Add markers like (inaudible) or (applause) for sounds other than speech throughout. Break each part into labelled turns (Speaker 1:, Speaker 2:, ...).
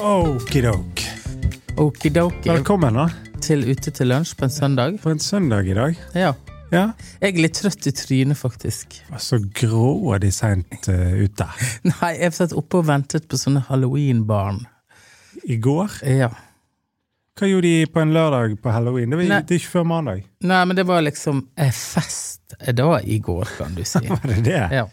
Speaker 1: Okidoke.
Speaker 2: Okidoki
Speaker 1: Velkommen da,
Speaker 2: til Ute til lunsj på en søndag.
Speaker 1: på en søndag i dag.
Speaker 2: Ja.
Speaker 1: Ja,
Speaker 2: Jeg er litt trøtt i trynet, faktisk. (laughs)
Speaker 1: Så grå de seint eh, ute.
Speaker 2: Nei, jeg satt oppe og ventet på sånne halloween-barn.
Speaker 1: I går
Speaker 2: Ja.
Speaker 1: Hva gjorde de på en lørdag på halloween? Det, var,
Speaker 2: Nei.
Speaker 1: det er ikke før mandag.
Speaker 2: Nei, men det var liksom eh, fest da i går, kan du
Speaker 1: (laughs)
Speaker 2: si.
Speaker 1: Var det det?
Speaker 2: Ja.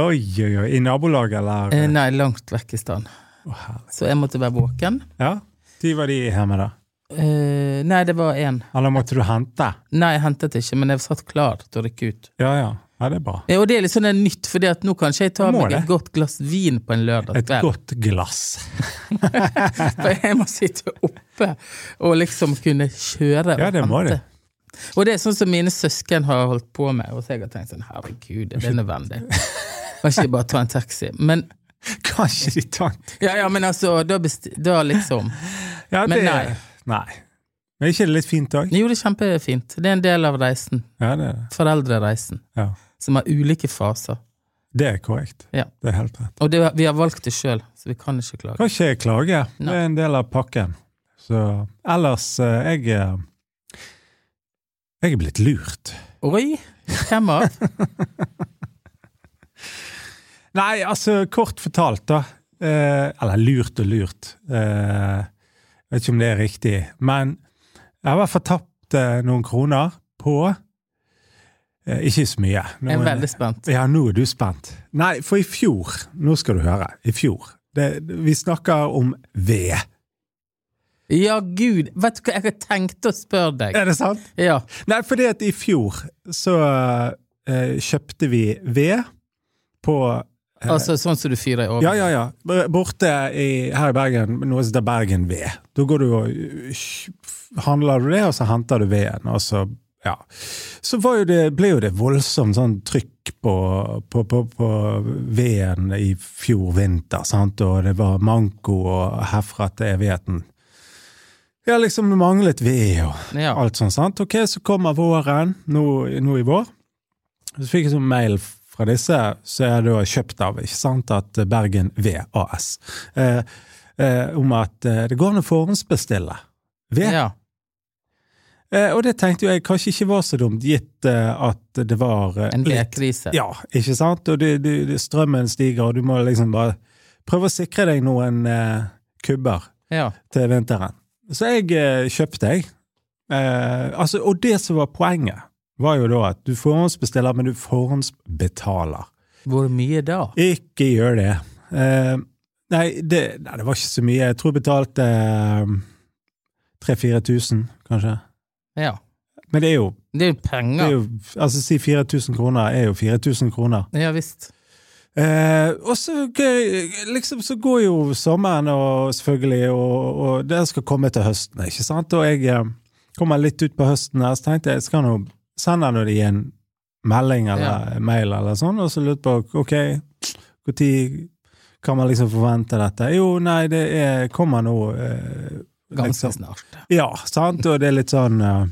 Speaker 1: Oi, oi, oi. I nabolaget, eller?
Speaker 2: Eh, Nei, langt vekk i stand.
Speaker 1: Å, herre.
Speaker 2: Så jeg måtte være våken.
Speaker 1: ja? De var de hjemme, da?
Speaker 2: Eh, Nei, det var én.
Speaker 1: Eller måtte du hente?
Speaker 2: Nei, jeg hentet ikke, men jeg satt klar til å rykke ut.
Speaker 1: Ja, ja. Ja, det er bra.
Speaker 2: Eh, Og det er litt sånn en nytt, fordi at nå kanskje jeg tar
Speaker 1: Må
Speaker 2: meg
Speaker 1: det.
Speaker 2: et godt glass vin på en lørdag
Speaker 1: Et
Speaker 2: kveld.
Speaker 1: godt glass.
Speaker 2: For jeg må sitte oppe og liksom kunne kjøre og
Speaker 1: Ja, det må
Speaker 2: hente.
Speaker 1: du.
Speaker 2: Og det er sånn som mine søsken har holdt på med, og så jeg har tenkt sånn herregud, er det nødvendig?
Speaker 1: (laughs)
Speaker 2: Kan ikke jeg bare ta en taxi? Men
Speaker 1: Kanskje de tar
Speaker 2: ja, ja, men altså, da, besti da liksom
Speaker 1: ja,
Speaker 2: Men
Speaker 1: det-
Speaker 2: nei.
Speaker 1: nei. Men er ikke det litt fint òg?
Speaker 2: Jo, det er kjempefint. Det er en del av reisen.
Speaker 1: Ja, det er det.
Speaker 2: Foreldrereisen.
Speaker 1: Ja.
Speaker 2: Som har ulike faser.
Speaker 1: Det er korrekt.
Speaker 2: Ja.
Speaker 1: Det er helt rett.
Speaker 2: Og det, vi har valgt det sjøl, så vi kan ikke klage.
Speaker 1: Kan ikke jeg klage.
Speaker 2: Nei.
Speaker 1: Det er en del av pakken. Så ellers eh, jeg eh, Jeg er blitt lurt.
Speaker 2: Oi! Hvem
Speaker 1: (laughs)
Speaker 2: av?
Speaker 1: Nei, altså, kort fortalt, da. Eh, eller lurt og lurt. Eh, vet ikke om det er riktig. Men jeg har i hvert fall tapt eh, noen kroner på eh, Ikke så mye.
Speaker 2: Jeg er
Speaker 1: Noen-
Speaker 2: veldig spent.
Speaker 1: Ja, nå er du spent. Nei, for i fjor Nå skal du høre. I fjor. Det, vi snakker om ved.
Speaker 2: Ja, gud! Vet du hva, jeg har tenkt å spørre deg.
Speaker 1: Er det sant?
Speaker 2: Ja.
Speaker 1: Nei, fordi at i fjor så eh, kjøpte vi ved på
Speaker 2: Altså sånn som du fyrer i
Speaker 1: Ja,
Speaker 2: ovnen?
Speaker 1: ja, ja. B- Borte i, her i Bergen, noe som heter Bergen ved. Da går du og eh, kj- handler du det, og så henter du veden, og så ja. Så var jo det, ble jo det voldsomt sånn trykk på, på, på, på veden i fjor vinter, sant? og det var manko og herfra til evigheten. Ja, liksom det manglet ved og
Speaker 2: Ja.
Speaker 1: alt sånt. sant? Ok, så kommer våren nå, nå i vår. Så fikk jeg sånn mail fra disse, så er det da kjøpt av ikke sant, at Bergen VAS. Eh, eh, om at eh, det går an å forhåndsbestille ved.
Speaker 2: Ja.
Speaker 1: Eh, og det tenkte jo jeg kanskje ikke var så dumt, gitt eh, at det var eh,
Speaker 2: En
Speaker 1: litt-
Speaker 2: vedkrise.
Speaker 1: Ja, ikke sant? Og det, det, det, strømmen stiger, og du må liksom bare prøve å sikre deg noen eh, kubber
Speaker 2: Ja.
Speaker 1: til vinteren. Så jeg eh, kjøpte, jeg. Eh, altså, og det som var poenget, var jo da at du forhåndsbestiller, men du forhåndsbetaler.
Speaker 2: Hvor mye da?
Speaker 1: Ikke gjør det. Eh, nei, det. Nei, det var ikke så mye. Jeg tror jeg betalte eh, 3000-4000, kanskje.
Speaker 2: Ja.
Speaker 1: Men det er jo,
Speaker 2: Det er jo
Speaker 1: det er
Speaker 2: penger.
Speaker 1: jo Altså, si 4000 kroner er jo 4000 kroner.
Speaker 2: Ja visst.
Speaker 1: Eh, og så, gøy, liksom, så går jo sommeren, og selvfølgelig, og, og det skal komme til høsten, ikke sant? Og jeg eh, kommer litt ut på høsten her, så tenkte jeg, skal nå sende nå de en melding eller mail eller sånn, og så lurte jeg på, ok, hvor tid kan man liksom forvente dette? Jo, nei, det er, kommer nå eh,
Speaker 2: Ganske
Speaker 1: liksom-
Speaker 2: snart.
Speaker 1: ja, sant, og det er litt sånn eh,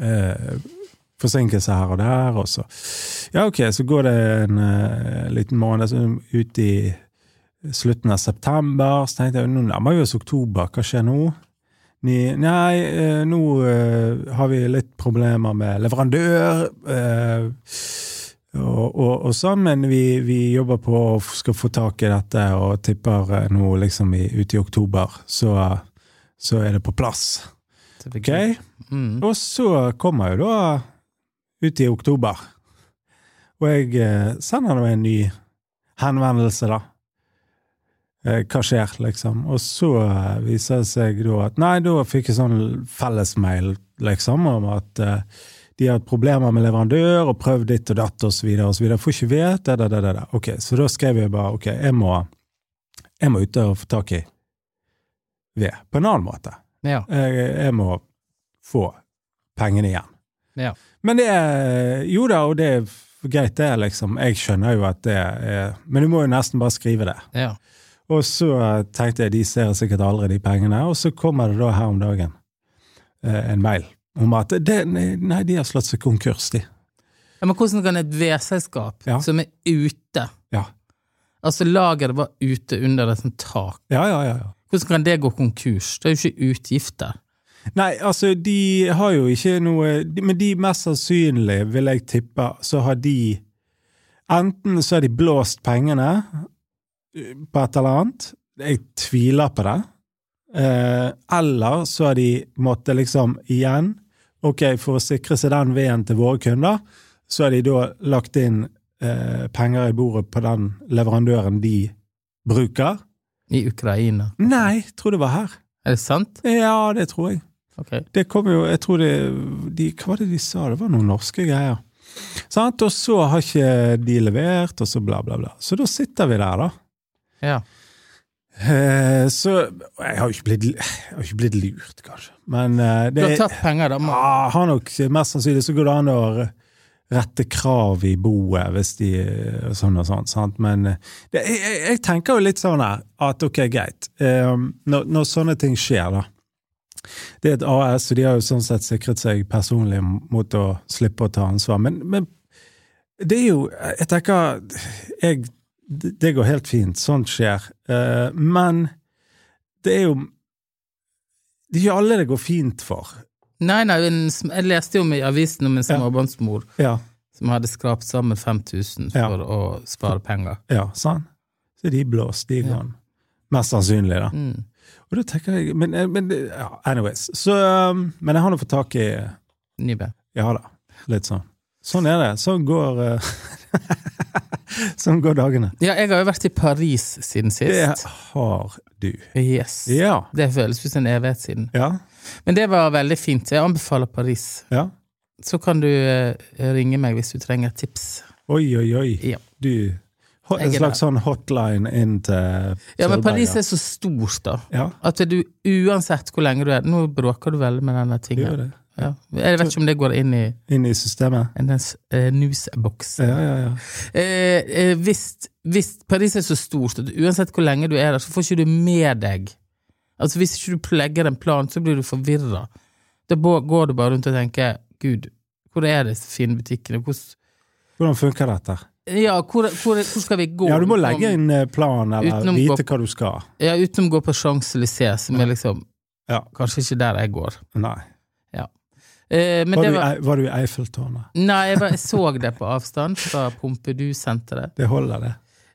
Speaker 1: eh, Forsinkelse her og der, og så Ja, ok, så går det en eh, liten måned så ut i slutten av september, så tenkte jeg nå nærmer vi oss oktober, hva skjer nå? Ni, nei, eh, nå eh, har vi litt problemer med leverandør. eh, og, og, og sånn, men vi, vi jobber på å f- skal få tak i dette, og tipper eh, nå liksom i, ute i oktober, så eh, så er det på plass. Ok?
Speaker 2: Mm.
Speaker 1: Og så kommer jo da ut i oktober. Og jeg eh, sender nå en ny henvendelse, da. Eh, Hva skjer, liksom? Og så eh, viser det seg da at Nei, da fikk jeg sånn fellesmail, liksom, om at eh, de har hatt problemer med leverandør og prøvd ditt og datt osv. osv. Får ikke vet det, det, det, det, det. Ok, Så da skrev jeg bare ok, jeg må, jeg må ut og få tak i ved på en annen måte
Speaker 2: Ja.
Speaker 1: jeg, jeg må få pengene igjen.
Speaker 2: Ja.
Speaker 1: Men det er Jo da, og det er greit, det, er liksom. Jeg skjønner jo at det er Men du må jo nesten bare skrive det.
Speaker 2: ja.
Speaker 1: Og så eh, tenkte jeg de ser sikkert aldri de pengene, og så kommer det da her om dagen eh, en mail om at det, nei, nei, de har slått seg konkurs, de.
Speaker 2: Ja, Men hvordan kan et vedselskap
Speaker 1: Ja.
Speaker 2: som er ute
Speaker 1: Ja.
Speaker 2: Altså, lageret var ute under et sånt tak.
Speaker 1: Ja, ja, ja. ja.
Speaker 2: Hvordan kan det gå konkurs? Det er jo ikke utgifter.
Speaker 1: Nei, altså, de har jo ikke noe de- Men de mest sannsynlig, vil jeg tippe, så har de Enten så har de blåst pengene eh, på et eller annet, jeg tviler på det, eh, eller så har de måttet liksom igjen Ok, for å sikre seg den veden til våre kunder, så har de da lagt inn eh, penger i bordet på den leverandøren de bruker.
Speaker 2: I Ukraina.
Speaker 1: Nei, jeg tror det var her.
Speaker 2: Er det sant?
Speaker 1: Ja, det tror jeg.
Speaker 2: Ok.
Speaker 1: Det kom jo, jeg tror det de, Hva var det de sa? Det var noen norske greier. Sant? Og så har ikke de levert, og så bla, bla, bla. Så da sitter vi der, da.
Speaker 2: Ja.
Speaker 1: Eh, så Jeg har jo ikke blitt, jeg har ikke blitt lurt, kanskje. Men eh,
Speaker 2: Du
Speaker 1: det
Speaker 2: har tatt penger, da.
Speaker 1: ja,
Speaker 2: Man.
Speaker 1: Ah, har nok Mest sannsynlig så går det an å rette krav i boet, hvis de sånn og sånn. Sant? Men eh, det, jeg, jeg- jeg tenker jo litt sånn her at ok, greit. Eh, når, når sånne ting skjer, da. Det er et AS, og de har jo sånn sett sikret seg personlig mot å slippe å ta ansvar. Men, men det er jo Jeg tenker jeg, Det går helt fint. Sånt skjer. Eh, men det er jo Det er ikke alle det går fint for.
Speaker 2: Nei, nei, en sm- jeg leste jo om i avisen om en småbarnsmor
Speaker 1: Ja.
Speaker 2: som hadde skrapt sammen 5000 for
Speaker 1: Ja.
Speaker 2: å spare penger.
Speaker 1: Ja, sant? Så de blåst, de
Speaker 2: Ja.
Speaker 1: gone. Mest sannsynlig, da.
Speaker 2: Mm.
Speaker 1: Og da tenker jeg Men, eh, men ja, anyways. Så, um, men jeg har nå fått tak i
Speaker 2: Nybø.
Speaker 1: Ja da, litt sånn. Sånn er det. Sånn går eh, (laughs) Sånn går dagene.
Speaker 2: Ja, jeg har jo vært i Paris siden
Speaker 1: Det
Speaker 2: sist.
Speaker 1: har du.
Speaker 2: Yes.
Speaker 1: Ja.
Speaker 2: Det føles ut som en evighet siden.
Speaker 1: Ja.
Speaker 2: Men det var veldig fint. Jeg anbefaler Paris.
Speaker 1: ja.
Speaker 2: Så kan du eh, ringe meg hvis du trenger tips.
Speaker 1: Oi, oi, oi.
Speaker 2: Ja.
Speaker 1: Du ho- En
Speaker 2: Jeg er
Speaker 1: slags sånn hotline inn til
Speaker 2: Ja,
Speaker 1: Sølvberg,
Speaker 2: men Paris
Speaker 1: ja.
Speaker 2: er så stort, da.
Speaker 1: Ja,
Speaker 2: At du uansett hvor lenge du er Nå bråker du veldig med denne
Speaker 1: det gjør
Speaker 2: tingen.
Speaker 1: det.
Speaker 2: Ja. Jeg vet ikke om det går inn i
Speaker 1: Inn i systemet.
Speaker 2: en eh, newsbox.
Speaker 1: Ja, ja, ja.
Speaker 2: Eh, eh, hvis, hvis Paris er så stort at uansett hvor lenge du er der, så får ikke du med deg Altså Hvis ikke du legger en plan, så blir du forvirra. Da bå- går du bare rundt og tenker Gud, hvor er disse fine butikkene? Hvor,
Speaker 1: Hvordan funker dette?
Speaker 2: ja, hvor, hvor, hvor skal vi gå?
Speaker 1: Ja, du må legge en eh, plan, eller
Speaker 2: Utenom
Speaker 1: vite
Speaker 2: gå-
Speaker 1: hva du skal.
Speaker 2: Ja, Utenom å gå på Champs-Élysées, som er liksom
Speaker 1: Ja.
Speaker 2: kanskje ikke der jeg går.
Speaker 1: Nei.
Speaker 2: Eh, men
Speaker 1: Var,
Speaker 2: det
Speaker 1: du,
Speaker 2: var,
Speaker 1: i- var du i Eiffeltårnet?
Speaker 2: nei, jeg, bare, jeg så det på avstand fra Pompidou-senteret.
Speaker 1: Det holder, det.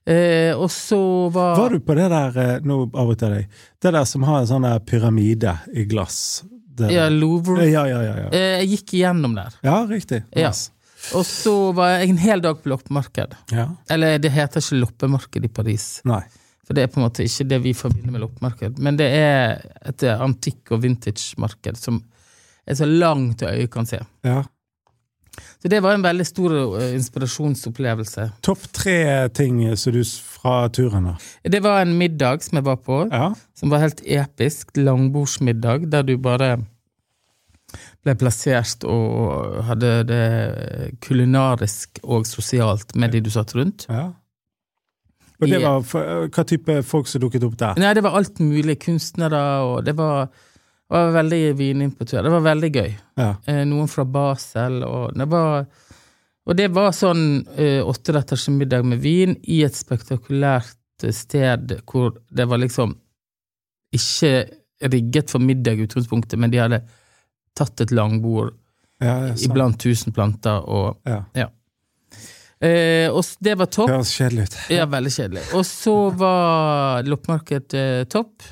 Speaker 2: Eh, og så var,
Speaker 1: Var du på det der eh, Nå avbryter jeg deg. Det der som har en sånn der pyramide i glass? Det
Speaker 2: Ja,
Speaker 1: der.
Speaker 2: Louvre.
Speaker 1: ja, ja, ja, ja.
Speaker 2: Eh, jeg gikk igjennom der.
Speaker 1: Ja, riktig.
Speaker 2: Ja.
Speaker 1: Nice.
Speaker 2: Og så var jeg en hel dag på loppemarked.
Speaker 1: Ja.
Speaker 2: Eller det heter ikke loppemarked i Paris,
Speaker 1: Nei.
Speaker 2: for det er på en måte ikke det vi forbinder med loppemarked. Men det er et eh, antikk- og vintage-marked som er så langt øyet kan se.
Speaker 1: Ja.
Speaker 2: Så det var en veldig stor eh, inspirasjonsopplevelse.
Speaker 1: Topp tre ting eh, som du s- fra turen, da?
Speaker 2: Det var en middag som jeg var på,
Speaker 1: Ja.
Speaker 2: som var helt episk. Langbordsmiddag, der du bare ble plassert og hadde det kulinarisk og sosialt med de du satt rundt.
Speaker 1: ja. Og det
Speaker 2: Ja.
Speaker 1: var for, eh, hva type folk som dukket opp der?
Speaker 2: Nei, det var alt mulig. Kunstnere, og det var, var veldig vinimportør. Det var veldig gøy.
Speaker 1: Ja.
Speaker 2: Eh, Noen fra Basel, og det var Og det var sånn eh, åtteretters middag med vin i et spektakulært eh, sted hvor det var liksom ikke rigget for middag i utgangspunktet, men de hadde tatt et langbord
Speaker 1: Ja, ja, sant.
Speaker 2: iblant tusen planter, og
Speaker 1: Ja.
Speaker 2: eh, Og s- det var topp.
Speaker 1: Høres kjedelig ut.
Speaker 2: Ja, veldig kjedelig. Og så var loppemarked eh, topp.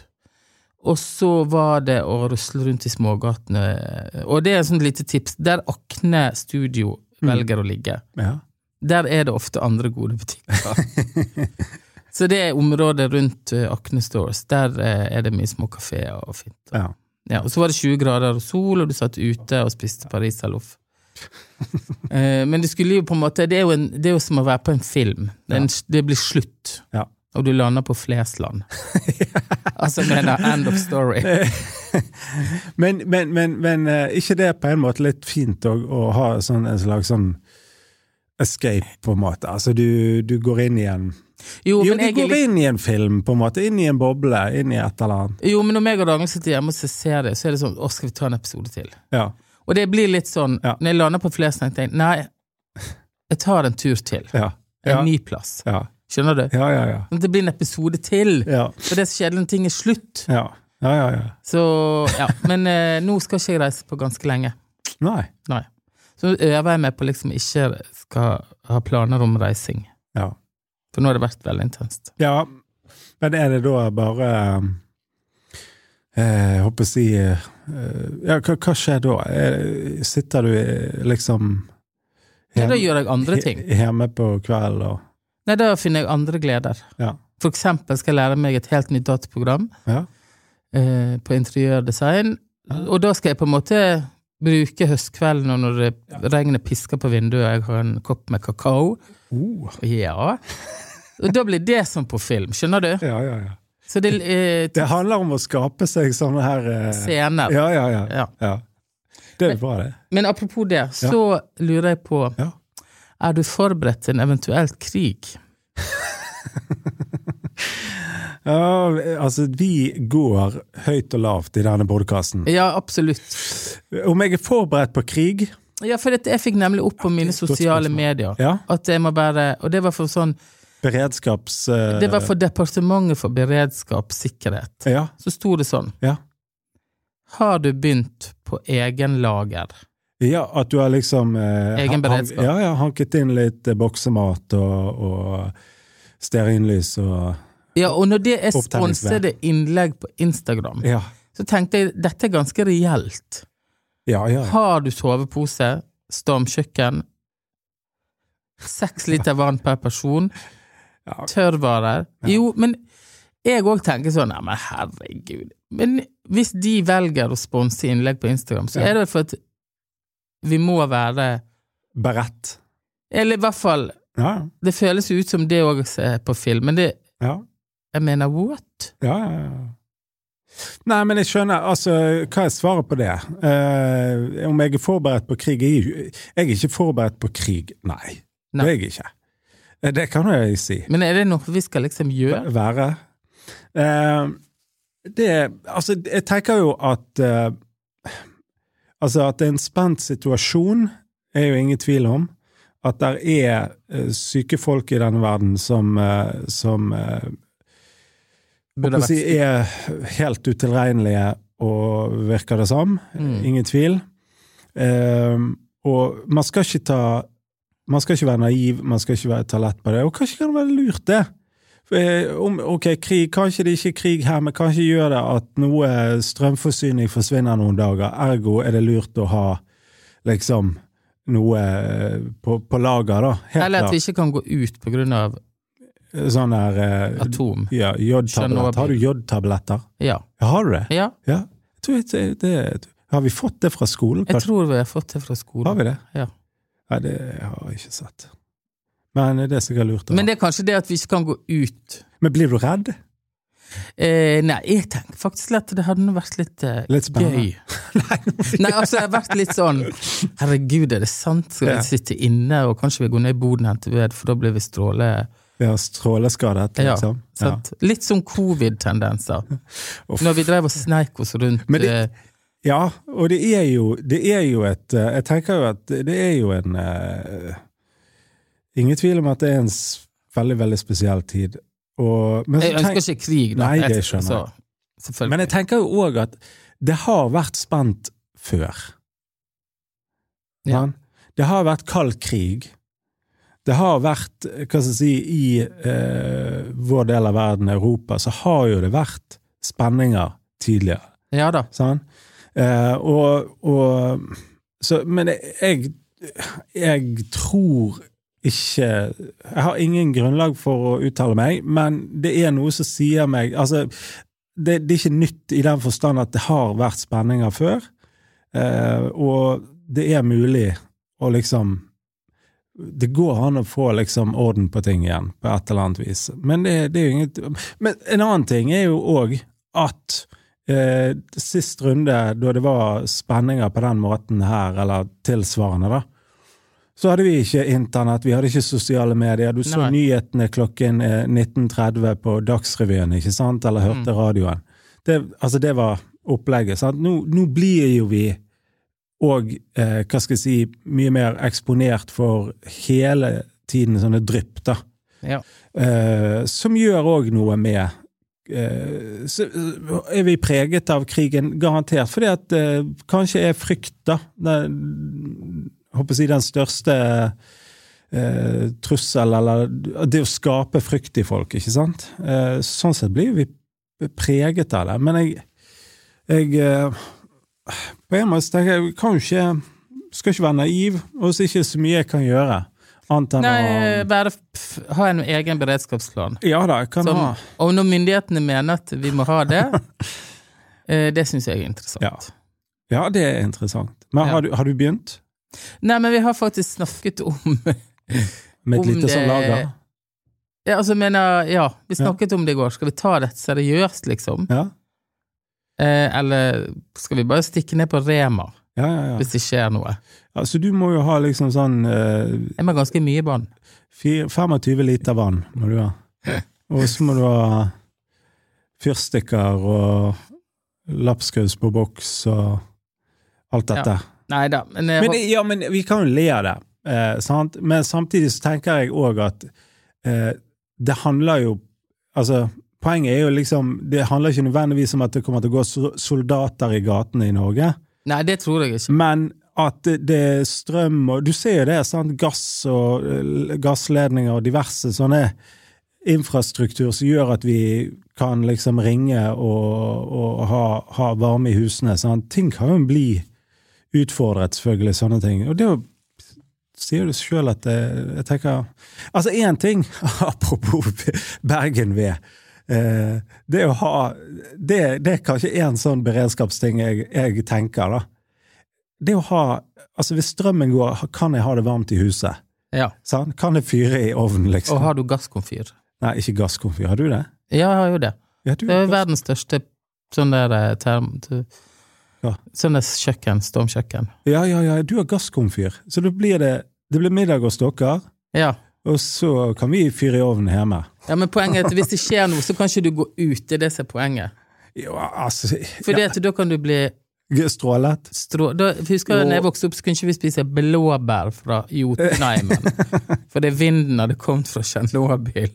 Speaker 2: Og så var det å rusle rundt i smågatene. Og det er et sånt lite tips. Der Akne Studio velger å ligge,
Speaker 1: Ja.
Speaker 2: der er det ofte andre gode butikker. så det er området rundt eh, Akne Stores. Der eh, er det mye små kafeer og fint.
Speaker 1: Ja.
Speaker 2: Ja, og så var det 20 grader og sol, og du satt ute og spiste pariserloff.
Speaker 1: (laughs)
Speaker 2: Eh, Men det skulle jo på en måte Det er jo, en, det er jo som å være på en film. Det, er en, det blir slutt,
Speaker 1: Ja.
Speaker 2: og du lander på
Speaker 1: (laughs)
Speaker 2: Flesland. altså, jeg mener end of story.
Speaker 1: (laughs) Men, men, men, men eh, ikke det på en måte litt fint å, å ha sånn, en slags sånn escape, på en måte? Altså du, du går inn i en
Speaker 2: Jo,
Speaker 1: Jo,
Speaker 2: men,
Speaker 1: du
Speaker 2: jeg er
Speaker 1: går
Speaker 2: litt,
Speaker 1: inn i en film, på en måte. Inn i en boble. Inn i et eller annet.
Speaker 2: jo, men når meg og Ragnhild sitter hjemme og ser serie, så er det sånn Å, skal vi ta en episode til?
Speaker 1: Ja.
Speaker 2: Og det blir litt sånn
Speaker 1: Ja.
Speaker 2: Når jeg lander på Flesland, tenker jeg nei, jeg tar en tur til.
Speaker 1: Ja.
Speaker 2: En
Speaker 1: Ja.
Speaker 2: ny plass.
Speaker 1: ja.
Speaker 2: Skjønner du?
Speaker 1: Ja, ja, ja.
Speaker 2: Sånn at Det blir en episode til.
Speaker 1: Ja,
Speaker 2: For det er så kjedelig når ting er slutt.
Speaker 1: ja, ja. ja, ja.
Speaker 2: Så ja. Men eh, nå skal ikke jeg reise på ganske lenge.
Speaker 1: Nei.
Speaker 2: Nei. Så nå øver jeg meg på liksom ikke skal ha planer om reising.
Speaker 1: Ja.
Speaker 2: For nå har det vært veldig intenst.
Speaker 1: ja. Men er det da bare eh, Håper jeg å si eh, Ja, hva, hva skjer da? Eh, Sitter du eh, liksom
Speaker 2: Ja, da gjør jeg
Speaker 1: (laughs)
Speaker 2: andre ting.
Speaker 1: he- Hjemme på kvelden og
Speaker 2: Nei, da finner jeg andre gleder.
Speaker 1: Ja.
Speaker 2: For eksempel skal jeg lære meg et helt nytt dataprogram
Speaker 1: Ja.
Speaker 2: eh, på interiørdesign.
Speaker 1: Ja.
Speaker 2: Og da skal jeg på en måte bruke høstkvelden og når det regnet pisker på vinduet og jeg har en kopp med kakao.
Speaker 1: Oh.
Speaker 2: Ja. Og da blir det som på film, skjønner du?
Speaker 1: Ja, ja, ja.
Speaker 2: Så det er
Speaker 1: Det handler om å skape seg sånne her eh,
Speaker 2: scener.
Speaker 1: Ja, ja, ja.
Speaker 2: Ja.
Speaker 1: ja. Det er jo bra, det.
Speaker 2: Men apropos det, så lurer jeg på
Speaker 1: Ja.
Speaker 2: Er du forberedt til en eventuelt krig?
Speaker 1: Ja, altså, vi går høyt og lavt i denne podkasten.
Speaker 2: Ja, absolutt.
Speaker 1: Om jeg er forberedt på krig?
Speaker 2: Ja, for dette, jeg fikk nemlig opp på mine
Speaker 1: Godt
Speaker 2: sosiale
Speaker 1: spørsmål.
Speaker 2: medier
Speaker 1: Ja.
Speaker 2: at jeg må bare Og det var for sånn
Speaker 1: Beredskaps... eh,
Speaker 2: Det var for Departementet for beredskap sikkerhet.
Speaker 1: Ja.
Speaker 2: Så sto det sånn
Speaker 1: Ja.
Speaker 2: Har du begynt på egen lager?
Speaker 1: ja, at du har liksom eh,
Speaker 2: Egen
Speaker 1: han-
Speaker 2: beredskap.
Speaker 1: Ja, ja, hanket inn litt eh, boksemat og, og stearinlys og
Speaker 2: Ja, og når det er
Speaker 1: Opptenningsvær.
Speaker 2: sponsede innlegg på Instagram,
Speaker 1: Ja,
Speaker 2: så tenkte jeg dette er ganske reelt.
Speaker 1: ja. ja.
Speaker 2: Har du sovepose, stormkjøkken, seks liter vann per person,
Speaker 1: Ja.
Speaker 2: tørrvarer Jo, men jeg òg tenker sånn Nei, men herregud. Men hvis de velger å sponse innlegg på Instagram, så
Speaker 1: Ja.
Speaker 2: er det for at vi må være
Speaker 1: Beredt.
Speaker 2: Eller i hvert fall
Speaker 1: Ja,
Speaker 2: Det føles jo ut som det òg er på film, men det
Speaker 1: ja.
Speaker 2: Jeg mener, what?
Speaker 1: Ja, ja, ja. Nei, men jeg skjønner Altså, hva er svaret på det? Eh, om jeg er forberedt på krig? Jeg er, jo- jeg er ikke forberedt på krig, nei.
Speaker 2: Nei.
Speaker 1: Det er jeg ikke. Eh, Det kan jeg si.
Speaker 2: Men er det noe vi skal liksom gjøre?
Speaker 1: Være. Eh, det Altså, jeg tenker jo at eh, Altså, at det er en spent situasjon, er jo ingen tvil om. At det er eh, syke folk i denne verden som, eh, som eh,
Speaker 2: Burde
Speaker 1: Håper å
Speaker 2: vært
Speaker 1: si, er helt utilregnelige og virker det som.
Speaker 2: Mm.
Speaker 1: Ingen tvil. Ehm, og man skal ikke ta Man skal ikke være naiv, man skal ikke være, ta lett på det. Og kanskje kan det være lurt, det. For, eh, Om, ok, krig, Kanskje det ikke er krig her, men kanskje gjør det at noe strømforsyning forsvinner noen dager. Ergo er det lurt å ha liksom noe eh, på, på lager, da. Helt
Speaker 2: Eller at vi
Speaker 1: klart.
Speaker 2: ikke kan gå ut på grunn av
Speaker 1: Sånn der eh,
Speaker 2: atom.
Speaker 1: ja, jodtablett.
Speaker 2: Tsjernobyl.
Speaker 1: Har du jodtabletter?
Speaker 2: Ja.
Speaker 1: Ja, Har du det?
Speaker 2: ja.
Speaker 1: Ja. Jeg tror det, det, har vi fått det fra skolen?
Speaker 2: Jeg
Speaker 1: Kanskje?
Speaker 2: tror vi har fått det fra
Speaker 1: Har
Speaker 2: skolen.
Speaker 1: vi det?
Speaker 2: Ja.
Speaker 1: Nei, det har jeg ikke sett. Men det er sikkert lurt. å ha.
Speaker 2: Men det er kanskje det at vi ikke kan gå ut.
Speaker 1: Men blir du redd?
Speaker 2: Eh, nei, jeg tenker faktisk at det hadde nå vært litt eh,
Speaker 1: Litt spennende.
Speaker 2: gøy. (laughs) Nei, altså, jeg har vært litt sånn Herregud, er det sant? Skal
Speaker 1: Ja.
Speaker 2: vi sitte inne, og kanskje vi går ned i boden og henter ved, for da blir vi stråle...
Speaker 1: Vi har stråleskadet,
Speaker 2: Ja,
Speaker 1: liksom. Ja.
Speaker 2: sant? Litt sånn covid-tendenser.
Speaker 1: Uff.
Speaker 2: Når vi drev og sneik oss rundt
Speaker 1: Men det-
Speaker 2: eh,
Speaker 1: ja, og det er jo, det er jo et eh, Jeg tenker jo at det er jo en eh, Ingen tvil om at det er en s- veldig, veldig spesiell tid. Og, men, så
Speaker 2: Jeg
Speaker 1: altså, tenk-
Speaker 2: ønsker ikke krig, da.
Speaker 1: Nei, det
Speaker 2: Jeg-
Speaker 1: skjønner
Speaker 2: så, selvfølgelig.
Speaker 1: men jeg tenker jo òg at det har vært spent før.
Speaker 2: Ja.
Speaker 1: Sant? Det har vært kald krig. Det har vært, hva skal jeg si, i eh, vår del av verden, Europa, så har jo det vært spenninger tidligere.
Speaker 2: ja da.
Speaker 1: Sant? Eh, og, og så, Men jeg, jeg tror ikke Jeg har ingen grunnlag for å uttale meg, men det er noe som sier meg Altså, det, det er ikke nytt i den forstand at det har vært spenninger før, eh, og det er mulig å liksom det går an å få liksom orden på ting igjen, på et eller annet vis. Men, det, det er jo inget, men en annen ting er jo òg at eh, sist runde, da det var spenninger på den måten her, eller tilsvarende, da, så hadde vi ikke internett, vi hadde ikke sosiale medier. Du så
Speaker 2: Nei.
Speaker 1: nyhetene klokken eh, 19.30 på Dagsrevyen, ikke sant, eller hørte radioen. Det, altså, det var opplegget. Sant? Nå, nå blir jo vi og eh, hva skal jeg si, mye mer eksponert for hele tiden sånne drypp, da.
Speaker 2: Ja.
Speaker 1: Eh, som gjør òg noe med eh, så er vi preget av krigen, garantert. Fordi at eh, kanskje er frykt, da, den, håper jeg å si, den største eh, trussel, eller det å skape frykt i folk, ikke sant? Eh, sånn sett blir vi preget av det. Men jeg, jeg eh, På en måte tenker jeg kan jo ikke Skal ikke være naiv, og så er det ikke så mye jeg kan gjøre. Annet enn
Speaker 2: Nei, eh,
Speaker 1: å
Speaker 2: bare f- ha en egen beredskapsplan.
Speaker 1: Ja da, jeg kan
Speaker 2: Som,
Speaker 1: ha
Speaker 2: og når myndighetene mener at vi må ha det,
Speaker 1: (laughs)
Speaker 2: eh, det syns jeg er interessant.
Speaker 1: Ja. Ja, det er interessant. Men
Speaker 2: Ja.
Speaker 1: har, du, har du begynt?
Speaker 2: Nei, men vi har faktisk snakket om
Speaker 1: Med et
Speaker 2: Om
Speaker 1: lite sånn
Speaker 2: det-
Speaker 1: lager?
Speaker 2: ja, altså, jeg mener, ja, vi snakket om det i går. Skal vi ta dette seriøst, liksom?
Speaker 1: Ja,
Speaker 2: Eh, eller skal vi bare stikke ned på Rema
Speaker 1: ja, ja. ja.
Speaker 2: hvis det skjer noe?
Speaker 1: Altså, du må jo ha liksom sånn eh,
Speaker 2: Jeg må ha ganske mye vann.
Speaker 1: Fire- 25 liter vann må du ha. Og så må du ha fyrstikker og lapskaus på boks og alt dette.
Speaker 2: Nei da, men, jeg
Speaker 1: Men,
Speaker 2: hå-
Speaker 1: det- ja, men vi kan jo le av det, eh, sant? men samtidig så tenker jeg òg at eh, det handler jo Altså, poenget er jo liksom Det handler ikke nødvendigvis om at det kommer til å gå so- soldater i gatene i Norge.
Speaker 2: nei, det tror jeg ikke.
Speaker 1: Men at det det er strøm og Du ser jo det, sant? gass og eh, gassledninger og diverse sånne infrastruktur som gjør at vi kan liksom ringe og, og ha, ha varme i husene. Sant? Ting kan jo bli utfordret, selvfølgelig, sånne ting. Og det er jo sier du sjøl at det, jeg tenker Altså, én ting, (laughs) apropos Bergen ved. eh, Det å ha Det, det er kanskje én sånn beredskapsting jeg, jeg tenker, da det å ha Altså, hvis strømmen går, kan jeg ha det varmt i huset?
Speaker 2: Ja.
Speaker 1: Sant? Kan jeg fyre i ovnen,
Speaker 2: Og
Speaker 1: liksom?
Speaker 2: har du gasskomfyr?
Speaker 1: Nei, ikke gasskomfyr. Har du det?
Speaker 2: Ja, jeg har jo det.
Speaker 1: Ja, du,
Speaker 2: Det er jo verdens største sånn der eh, term... t-
Speaker 1: Ja.
Speaker 2: Sånn der kjøkken, stormkjøkken.
Speaker 1: ja, ja, ja, du har gasskomfyr. Så da blir det, det blir middag hos dere,
Speaker 2: Ja.
Speaker 1: og så kan vi fyre i ovnen hjemme.
Speaker 2: ja, men poenget er at hvis det skjer noe, så kan ikke du gå ut. Det er det som er poenget.
Speaker 1: Jo, altså
Speaker 2: For det at da kan du bli
Speaker 1: ja, Strålet.
Speaker 2: strå... Da, husker
Speaker 1: Jo.
Speaker 2: jeg da jeg vokste opp, så kunne ikke vi spise blåbær fra (laughs) Jotunheimen. For det vinden hadde kommet fra Tsjernobyl.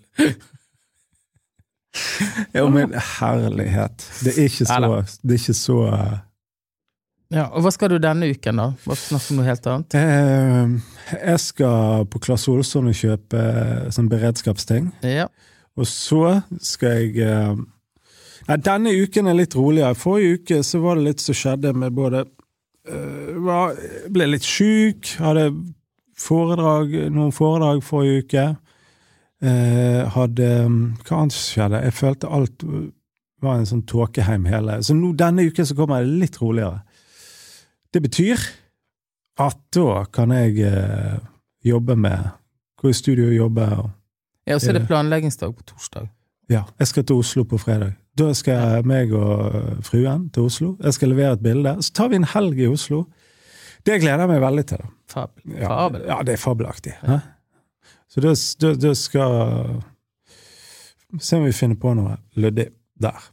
Speaker 1: Jo, men herlighet. Det er ikke så Det er ikke så
Speaker 2: Ja, og hva skal du denne uken, da? Bare snakke om noe helt annet.
Speaker 1: eh, Jeg skal på Claes Olsson og kjøpe eh, sånn beredskapsting.
Speaker 2: Ja.
Speaker 1: Og så skal jeg eh, Nei, denne uken er litt roligere. Forrige uke så var det litt som skjedde med både eh, var, Ble litt sjuk, hadde foredrag, noen foredrag forrige uke. Eh, hadde Hva annet skjedde? Jeg følte alt var en sånn tåkeheim hele Så nå denne uken så kommer jeg litt roligere. Det betyr at da kan jeg eh, jobbe med Gå i studio og jobbe. og
Speaker 2: ja, og så er det planleggingsdag på torsdag.
Speaker 1: ja, jeg skal til Oslo på fredag. Da skal jeg, meg og eh, fruen til Oslo. Jeg skal levere et bilde. Så tar vi en helg i Oslo. Det gleder jeg meg veldig til. da.
Speaker 2: Fabel.
Speaker 1: Ja,
Speaker 2: Fabel.
Speaker 1: ja det er fabelaktig. hæ? Så da, da, da skal Se om vi finner på noe luddig der.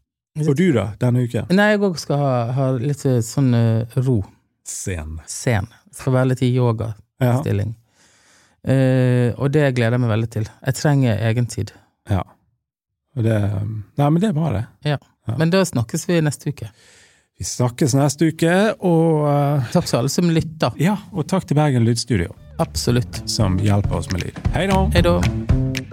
Speaker 1: Og du, da? Denne uken?
Speaker 2: Nei, jeg òg skal ha, ha litt eh, sånn eh, ro.
Speaker 1: Sen.
Speaker 2: Sen. Skal være litt i yogastilling.
Speaker 1: Ja.
Speaker 2: Eh, og det gleder jeg meg veldig til. Jeg trenger egentid.
Speaker 1: ja. Og det eh, Nei, men det er bra, det. Ja.
Speaker 2: Men da snakkes vi neste uke.
Speaker 1: Vi snakkes neste uke, og eh,
Speaker 2: Takk til alle som lytter.
Speaker 1: Ja, og takk til Bergen Lydstudio,
Speaker 2: Absolutt.
Speaker 1: som hjelper oss med lyd. Hei da!
Speaker 2: Hei da.